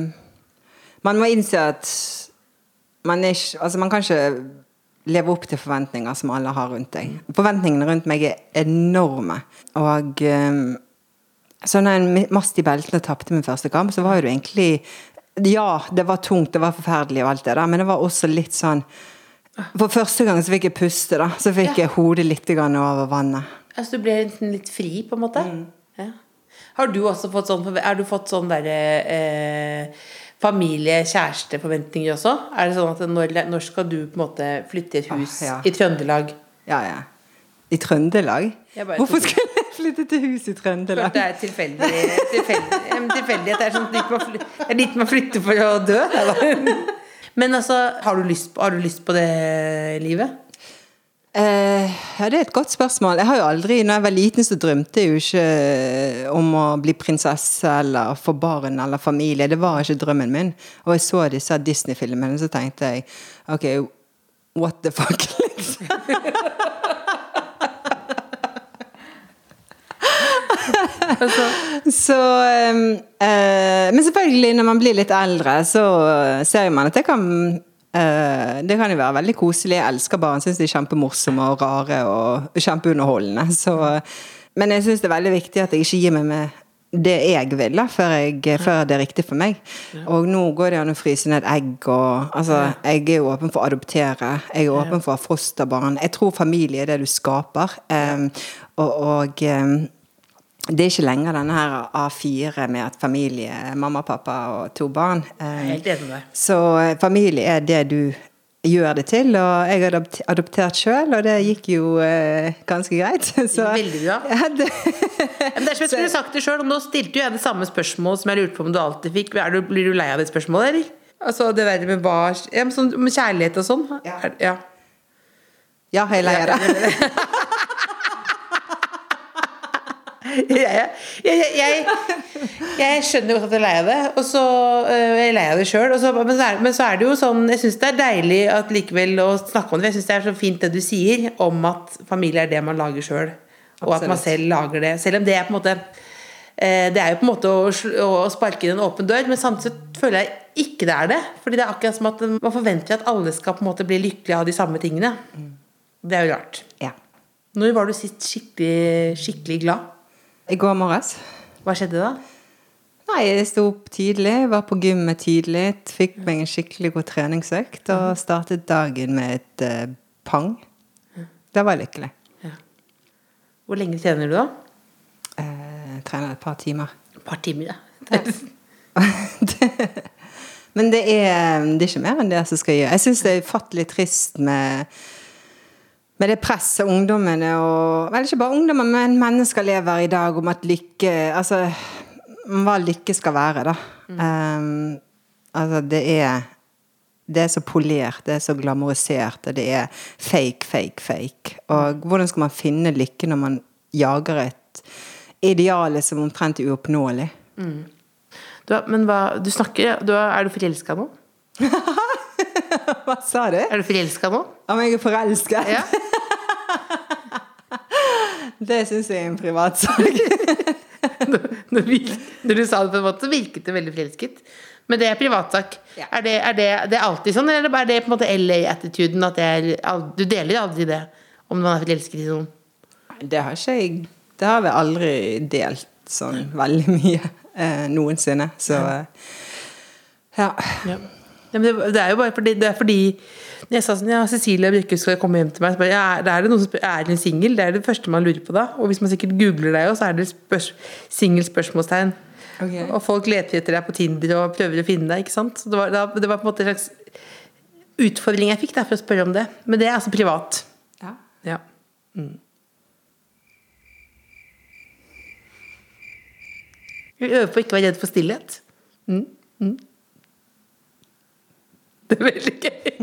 Speaker 3: man må innse at man, er ikke, altså man kan ikke leve opp til forventninger som alle har rundt deg. Forventningene rundt meg er enorme. Og ehm, så når en mast i beltene tapte min første kamp, så var jo det egentlig Ja, det var tungt, det var forferdelig og alt det der, men det var også litt sånn For første gang så fikk jeg puste, da. Så fikk jeg hodet litt grann over vannet.
Speaker 1: Altså, du ble nesten litt fri, på en måte. Ja. Har du også fått sånn forve- Har du fått sånn derre eh, familie-kjæreste-forventninger også? Er det sånn at når, når skal du på en måte flytte i et hus
Speaker 3: Ah, ja.
Speaker 1: i Trøndelag?
Speaker 3: Ja, ja. I Trøndelag?
Speaker 1: Jeg bare
Speaker 3: Hvorfor
Speaker 1: tok-
Speaker 3: skulle jeg flytte til hus i Trøndelag?
Speaker 1: Det er tilfeldig, tilfeldig, en tilfeldighet. Det er sånn at dit man fly- det er dit man flytter for å dø. Men altså, har du lyst på, har du lyst på det livet?
Speaker 3: Eh, ja, det er et godt spørsmål. Jeg har jo aldri, når jeg var liten, så drømte jeg jo ikke eh, om å bli prinsesse eller få barn eller familie. Det var ikke drømmen min. Og jeg så disse Disney-filmene, så tenkte jeg OK, what the fuck, liksom. Så ehm, eh, Men selvfølgelig, når man blir litt eldre, så ser man at det kan eh, Det kan jo være veldig koselig. Jeg elsker barn, syns de er kjempemorsomme og rare og kjempeunderholdende. Så, eh, men jeg syns det er veldig viktig at jeg ikke gir meg med det jeg vil, da, før, jeg, eh, før det er riktig for meg. Og nå går det an å fryse ned egg og Altså, jeg er jo åpen for å adoptere. Jeg er åpen for å ha fosterbarn. Jeg tror familie er det du skaper. ehm, og og ehm, det er ikke lenger denne her A4 med at familie, mamma, pappa og to barn. eh,
Speaker 1: er helt enig med deg.
Speaker 3: Så eh, familie er det du gjør det til, og jeg har adopt- adoptert sjøl, og det gikk jo eh, ganske greit. Så,
Speaker 1: Veldig bra.
Speaker 3: Ja, det,
Speaker 1: Men det er som jeg skulle sagt det selv, og Nå stilte jo jeg det samme spørsmålet som jeg lurte på om du alltid fikk. Er du, blir du lei av det spørsmålet, eller? Altså det der med hva ja, men sånn, Med kjærlighet og sånn.
Speaker 3: Ja.
Speaker 1: Er- ja.
Speaker 3: ja, jeg er lei av det.
Speaker 1: Jeg, jeg, jeg, jeg, jeg skjønner godt at jeg er lei av det, og så øh, jeg er jeg lei av det sjøl. Men, så er- men så er det jo sånn Jeg syns det er deilig at likevel å snakke om det. for Jeg syns det er så fint det du sier om at familie er det man lager sjøl, og at man
Speaker 3: Absolutt.
Speaker 1: selv lager det. Selv om det er på en måte eh, Det er jo på en måte å, sl- å sparke inn en åpen dør, men samtidig føler jeg ikke det er det. Fordi det er akkurat som at øh, man forventer at alle skal på en måte bli lykkelige av de samme tingene. Det er jo rart.
Speaker 3: Ja.
Speaker 1: Når var du sist skikkelig, skikkelig glad?
Speaker 3: I går morges
Speaker 1: Hva skjedde da?
Speaker 3: Nei, jeg sto opp tidlig, var på gymmet tidlig, fikk meg en skikkelig god treningsøkt og
Speaker 1: Mhm.
Speaker 3: startet dagen med et eh, pang. Da var jeg lykkelig.
Speaker 1: Hvor lenge trener du, da?
Speaker 3: Eh, trener et par timer.
Speaker 1: Et par timer, ja.
Speaker 3: Det- Men det er, det er ikke mer enn det som skal gjøre. Jeg syns det er ufattelig trist med, med det presset ungdommene og Vel, ikke bare ungdommer, men mennesker lever i dag om at lykke Altså hva lykke skal være, da. Um, altså, det er Det er så polert, det er så glamorisert, og det er fake, fake, fake. Og hvordan skal man finne lykke når man jager et ideal som omtrent er uoppnåelig?
Speaker 1: Du, er- men hva, du snakker du er, er du forelska nå?
Speaker 3: Hva sa du?
Speaker 1: Er du forelska nå?
Speaker 3: Om jeg er forelsket?
Speaker 1: Ja.
Speaker 3: Det syns jeg er en privatsak.
Speaker 1: Når, vi- når du sa det på en måte, så virket det veldig forelsket. Men det er privatsak.
Speaker 3: Ja.
Speaker 1: Er, det, er det, det er alltid sånn, eller er det på en måte LA-attituden? At det er, al- du deler aldri det om man er forelsket i noen?
Speaker 3: Det har ikke jeg Det har vi aldri delt sånn veldig mye eh, noensinne, så eh, ja.
Speaker 1: Ja. men det, det er jo bare fordi, det er fordi Når jeg sa sånn, ja, Cecilie Brykhus skal komme hjem til meg, så bare, ja, er, er det noen som spør, er hun singel? Det er det første man lurer på da. Og hvis man sikkert googler deg også, så er det spørs, singel spørsmålstegn.
Speaker 3: Ok.
Speaker 1: Og folk leter etter deg på Tinder og prøver å finne deg, ikke sant. Så det var, da- det var på en måte en slags utfordring jeg fikk da, for å spørre om det. Men det er altså privat.
Speaker 3: ja.
Speaker 1: Ja. Mm. Vi øver på å ikke være redd for stillhet. Mm. Mm. Det er veldig gøy.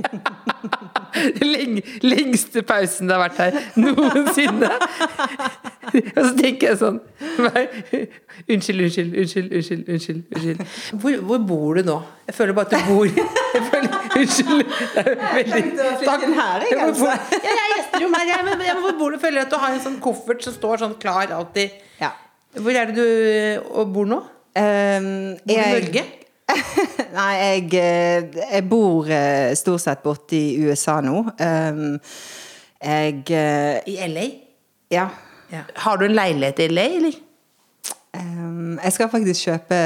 Speaker 1: Leng, lengste pausen det har vært her noensinne. Og så tenker jeg sånn nei, Unnskyld, unnskyld, unnskyld. unnskyld, unnskyld, unnskyld. Hvor, hvor bor du nå? Jeg føler bare at du bor jeg føler, Unnskyld. Det er
Speaker 3: tenkte å flytte inn her, jeg,
Speaker 1: Hvor- hvor-
Speaker 3: altså.
Speaker 1: Ja, jeg gjester jo meg, jeg, men, men hvor bor du? Føler at du har en sånn koffert som står sånn klar alltid.
Speaker 3: Ja.
Speaker 1: Hvor er det du og bor nå?
Speaker 3: Um,
Speaker 1: Bor du i Norge?
Speaker 3: Nei, jeg, eh, jeg bor eh, stort sett borte i USA nå. Um, jeg eh,
Speaker 1: I LA?
Speaker 3: Ja.
Speaker 1: Har du en leilighet i LA, eller?
Speaker 3: Um, jeg skal faktisk kjøpe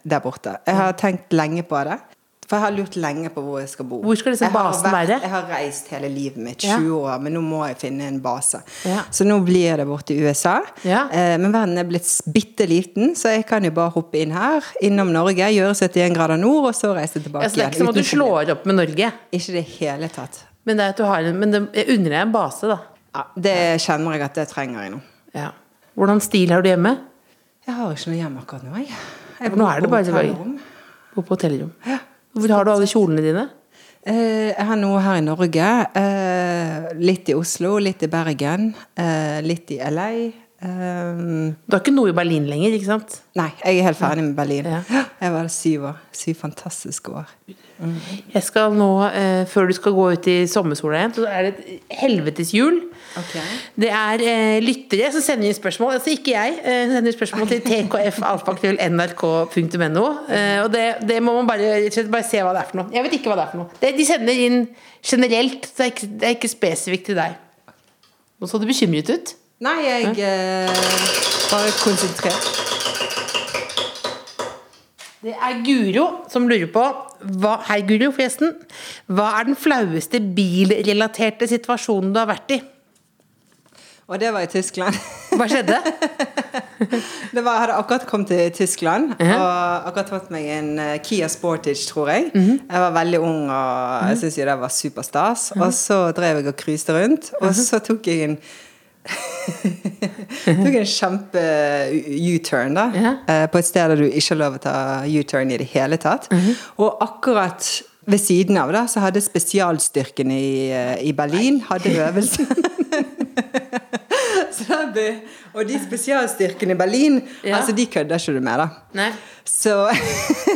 Speaker 3: der borte. Jeg har tenkt lenge på det. For jeg har lurt lenge på hvor jeg skal bo.
Speaker 1: Hvor skal liksom
Speaker 3: Jeg har
Speaker 1: basen
Speaker 3: vært-
Speaker 1: være?
Speaker 3: Jeg har reist hele livet mitt,
Speaker 1: Ja.
Speaker 3: 20 år, men nå må jeg finne en base.
Speaker 1: Ja.
Speaker 3: Så nå blir det borte i USA.
Speaker 1: Ja.
Speaker 3: Eh, men verden er blitt bitte liten, så jeg kan jo bare hoppe inn her, innom Norge, gjøre 71 grader nord, og så reise tilbake
Speaker 1: Ja, så det er ikke som at
Speaker 3: uten
Speaker 1: du
Speaker 3: problem.
Speaker 1: slår opp med Norge.
Speaker 3: Ikke i det hele tatt.
Speaker 1: Men, det er at du har en, men det, jeg unner deg en base, da.
Speaker 3: Ja, det kjenner jeg at det trenger jeg nå.
Speaker 1: Hvordan stil har du hjemme?
Speaker 3: Jeg har ikke noe hjem akkurat nå, jeg. jeg
Speaker 1: For nå er det bare-
Speaker 3: hotellrom.
Speaker 1: Bor på hotellrom. Hvor har du alle kjolene dine?
Speaker 3: Eh, Jeg har noe her i Norge. eh, Litt i Oslo, litt i Bergen, eh, litt i LA. eh,
Speaker 1: Du har ikke noe i Berlin lenger, ikke sant?
Speaker 3: Nei, jeg er helt ferdig med Berlin.
Speaker 1: Ja.
Speaker 3: Jeg var der syv år. Syv fantastiske år.
Speaker 1: Jeg skal nå, eh, før du skal gå ut i sommersola igjen, så er det et helvetes hjul.
Speaker 3: Ok.
Speaker 1: Det er eh, lyttere som sender inn spørsmål, altså ikke jeg, eh, som sender spørsmål til tkfalfakrøllnrk.no. Eh, og det, det må man bare, rett og slett bare se hva det er for noe. Jeg vet ikke hva det er for noe. Det, de sender inn generelt, så det er ikke, det er ikke spesifikt til deg. Nå så du bekymret ut.
Speaker 3: Nei, jeg eh, bare konsentrert.
Speaker 1: Det er Guro som lurer på hva, Hei, Guro, forresten. Hva er den flaueste bilrelaterte situasjonen du har vært i?
Speaker 3: Og det var i Tyskland.
Speaker 1: Hva skjedde?
Speaker 3: Det var, jeg hadde akkurat kommet til Tyskland og akkurat fått meg en eh, Kia Sportage, tror jeg. Jeg var veldig ung, og jeg syntes jo det var superstas. Og så drev jeg og cruiset rundt, og så tok jeg en tok en kjempe uh, U-turn da eh, på et sted der du ikke har lov å ta U-turn i det hele tatt.
Speaker 1: Mhm.
Speaker 3: Og akkurat ved siden av da, så hadde spesialstyrken i, eh, i Berlin hadde øvelse. Så da ble- og de spesialstyrkene i Berlin,
Speaker 1: Ja.
Speaker 3: altså de kødder ikke du med, da.
Speaker 1: Nei.
Speaker 3: Så,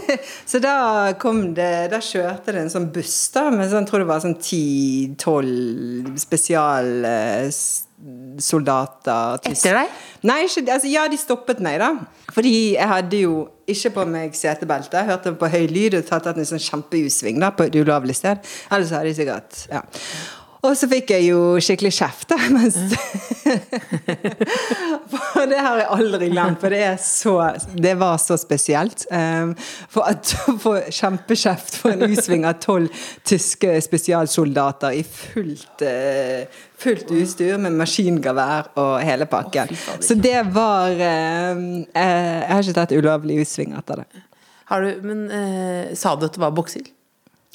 Speaker 3: så da kom det Da kjørte det en sånn buss, da, med sånn, jeg tror det var sånn 10-12 eh, spesialsoldater.
Speaker 1: Etter deg?
Speaker 3: Nei, ikke, altså, ja, de stoppet meg, da. Fordi jeg hadde jo ikke på meg setebelte. Jeg hørte på høy lyd og tatt tatt en sånn kjempeusving da, på et ulovlig sted. Ellers hadde de sikkert ja. Og så fikk jeg jo skikkelig kjeft, da. Mens, Og det har jeg aldri glemt, for det, er så, det var så spesielt. Um, for at å få kjempekjeft for en U-sving av tolv tyske spesialsoldater i fullt uh, Fullt utstyr med maskingevær og hele pakken. så det var um, eh, Jeg har ikke tatt ulovlig U-sving etter det.
Speaker 1: Har du, men eh, sa du at det var boksild?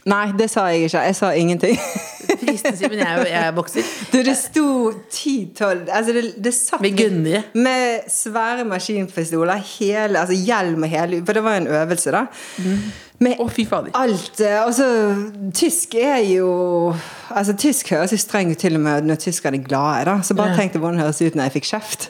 Speaker 3: Nei, det sa jeg ikke. Jeg sa ingenting.
Speaker 1: Fristende, men jeg, er jo- jeg er bokser.
Speaker 3: Du, det sto 10-12 altså det, det satt
Speaker 1: Med Gunnje.
Speaker 3: Med svære maskinpistoler, hele, altså hjelm og hele For det var jo en øvelse, da. Med
Speaker 1: Mm. Å, fy fader.
Speaker 3: alt eh, Altså, tysk er jo Altså, tysk høres jo streng ut til og med når tyskerne er glade, da. Så bare tenkte hvordan det høres ut når jeg fikk kjeft.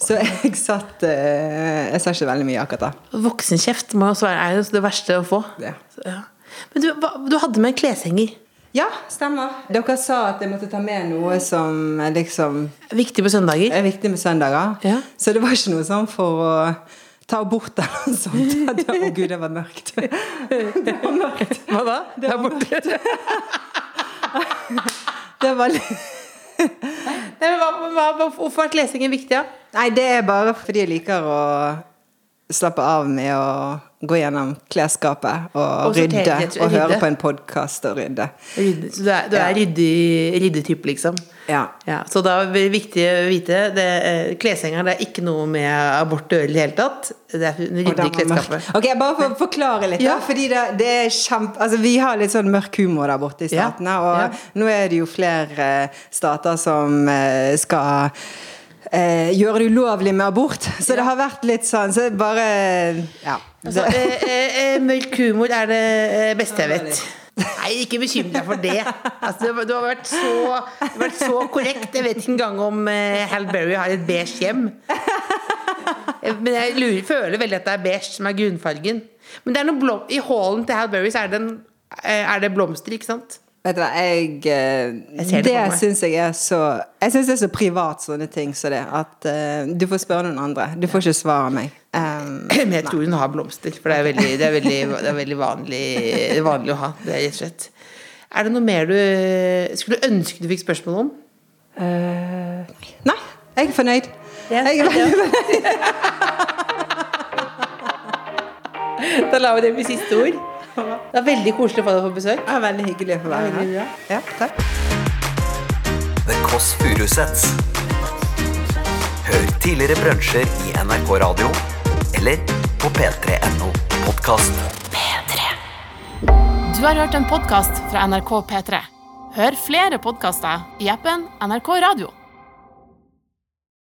Speaker 3: Så jeg satt eh, Jeg sa ikke veldig mye akkurat da.
Speaker 1: Voksenkjeft må jo også være er jo det verste å få.
Speaker 3: Det.
Speaker 1: Så, ja. Men du, hva, du hadde med en kleshenger.
Speaker 3: Ja, stemmer. Dere sa at jeg måtte ta med noe som eh, liksom
Speaker 1: Viktig på søndager.
Speaker 3: er viktig med søndager.
Speaker 1: Ja.
Speaker 3: Så det var ikke noe sånn for å ta bort eller noe sånt. At det- Å gud, det var mørkt. Det var mørkt.
Speaker 1: Hva da? Det er borte.
Speaker 3: Det var litt
Speaker 1: Nei, men hva, hva, hva, hvorfor er kleshenger viktig? Ja?
Speaker 3: Nei, det er bare fordi jeg liker å slappe av med å gå gjennom klesskapet og,
Speaker 1: Og sortere,
Speaker 3: rydde.
Speaker 1: rett og slett,
Speaker 3: Og høre
Speaker 1: rydde.
Speaker 3: på en podkast og rydde.
Speaker 1: Rydde- Så du er, du er
Speaker 3: Ja.
Speaker 1: ryddig, ryddetype, liksom?
Speaker 3: Ja.
Speaker 1: Så da er det viktig å vite det, eh, Kleshenger det er ikke noe med abort å gjøre i det hele tatt. Det er
Speaker 3: Og
Speaker 1: ryddig i
Speaker 3: det var mørkt.
Speaker 1: klesskapet.
Speaker 3: Ok, Bare for å forklare litt.
Speaker 1: Ja.
Speaker 3: Da, fordi det, det er kjempe, altså, vi har litt sånn mørk humor der borte i
Speaker 1: Ja.
Speaker 3: statene. Og
Speaker 1: Ja.
Speaker 3: nå er det jo flere eh, stater som eh, skal eh, gjøre det ulovlig med abort. Så det har vært litt sånn Så det bare Ja.
Speaker 1: Altså,
Speaker 3: det,
Speaker 1: eh, eh, eh, mørk humor er det eh, beste jeg vet. Nei, ikke bekymre deg for det. Altså, du, du har vært så, du har vært så korrekt. Jeg vet ikke engang om eh, Hal Berry har et beige hjem. Eh, Men jeg lurer, føler veldig at det er beige som er grunnfargen. Men det er noe blom i hallen til Hal Berry så er det, en, eh, er det blomster, ikke sant?
Speaker 3: vet du hva, jeg, eh,
Speaker 1: Jeg ser det
Speaker 3: Det,
Speaker 1: for meg.
Speaker 3: syns jeg er så Jeg synes det er så privat, sånne ting som det. At eh, du får spørre noen andre. Du får ikke svar av meg. Um,
Speaker 1: Men jeg tror hun har blomster, for det er veldig, det er veldig, det er veldig vanlig, vanlig å ha. Det er rett og slett. Er det noe mer du skulle ønske du fikk spørsmål om? Eh.
Speaker 3: nei, jeg er fornøyd. Jeg er veldig
Speaker 1: Da lar vi det bli siste ord. Det er veldig koselig å få deg på besøk.
Speaker 3: Ja, veldig hyggelig å få være
Speaker 1: Veldig bra.
Speaker 3: her. Ja, takk.
Speaker 2: The Kåss Furuseths. Hør tidligere brunsjer i NRK Radio eller på p3.no podkast.
Speaker 4: Du har hørt en podkast fra NRK P3. Hør flere podkaster i appen NRK Radio.